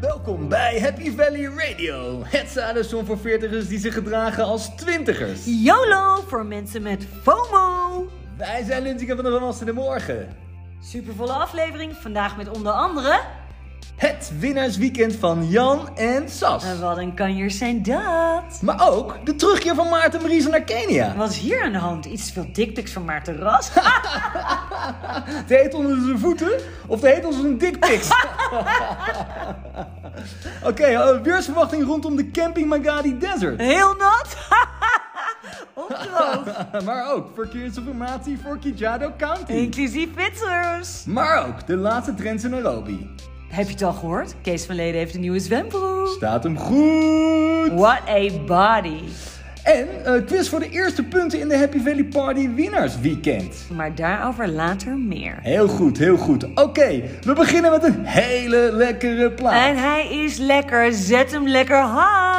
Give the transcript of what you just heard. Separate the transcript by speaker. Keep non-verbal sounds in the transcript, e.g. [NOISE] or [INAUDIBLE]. Speaker 1: Welkom bij Happy Valley Radio. Het station voor veertigers die zich gedragen als twintigers.
Speaker 2: YOLO voor mensen met FOMO.
Speaker 1: Wij zijn Lindsay van der Van Assen de Morgen.
Speaker 2: Supervolle aflevering, vandaag met onder andere...
Speaker 1: Het winnaarsweekend van Jan en Sas.
Speaker 2: En eh, wat een kanjers zijn dat.
Speaker 1: Maar ook de terugkeer van Maarten Maries naar Kenia.
Speaker 2: Wat is hier aan de hand? Iets te veel dikpiks van Maarten Ras? Ah,
Speaker 1: De heet onder zijn voeten of de heet onder zijn
Speaker 2: [LAUGHS]
Speaker 1: dikpiks. Oké, eh, weersverwachting rondom de camping Magadi Desert.
Speaker 2: Heel nat? [LAUGHS] Opdroog.
Speaker 1: [LAUGHS] Maar ook verkeersinformatie voor Kijado County.
Speaker 2: Inclusief witsers.
Speaker 1: Maar ook de laatste trends in Nairobi.
Speaker 2: Heb je het al gehoord? Kees van Leden heeft een nieuwe zwembroek.
Speaker 1: Staat hem goed!
Speaker 2: What a body.
Speaker 1: En eh, quiz voor de eerste punten in de Happy Valley Party winnaarsweekend.
Speaker 2: Maar daarover later meer.
Speaker 1: Heel goed, heel goed. Oké, we beginnen met een hele lekkere plaat.
Speaker 2: En hij is lekker. Zet hem lekker high.